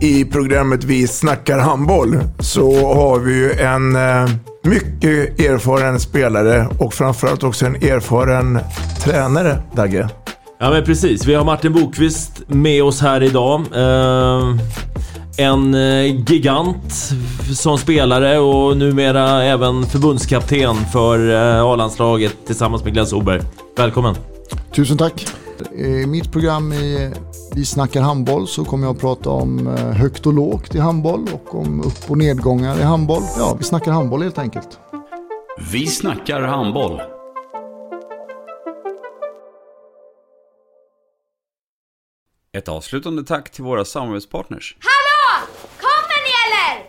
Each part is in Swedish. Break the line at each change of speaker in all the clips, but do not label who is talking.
i programmet Vi snackar handboll så har vi ju en eh, mycket erfaren spelare och framförallt också en erfaren tränare, Dagge.
Ja men precis, vi har Martin Bokvist med oss här idag. Eh, en eh, gigant som spelare och numera även förbundskapten för eh, A-landslaget tillsammans med Glenn Sober. Välkommen!
Tusen tack. I mitt program i Vi snackar handboll så kommer jag att prata om eh, högt och lågt i handboll och om upp och nedgångar i handboll. Ja, vi snackar handboll helt enkelt.
Vi snackar handboll. Ett avslutande tack till våra samarbetspartners.
Hallå! Kommer ni eller?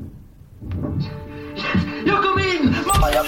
Jag kom in! Mamma, jag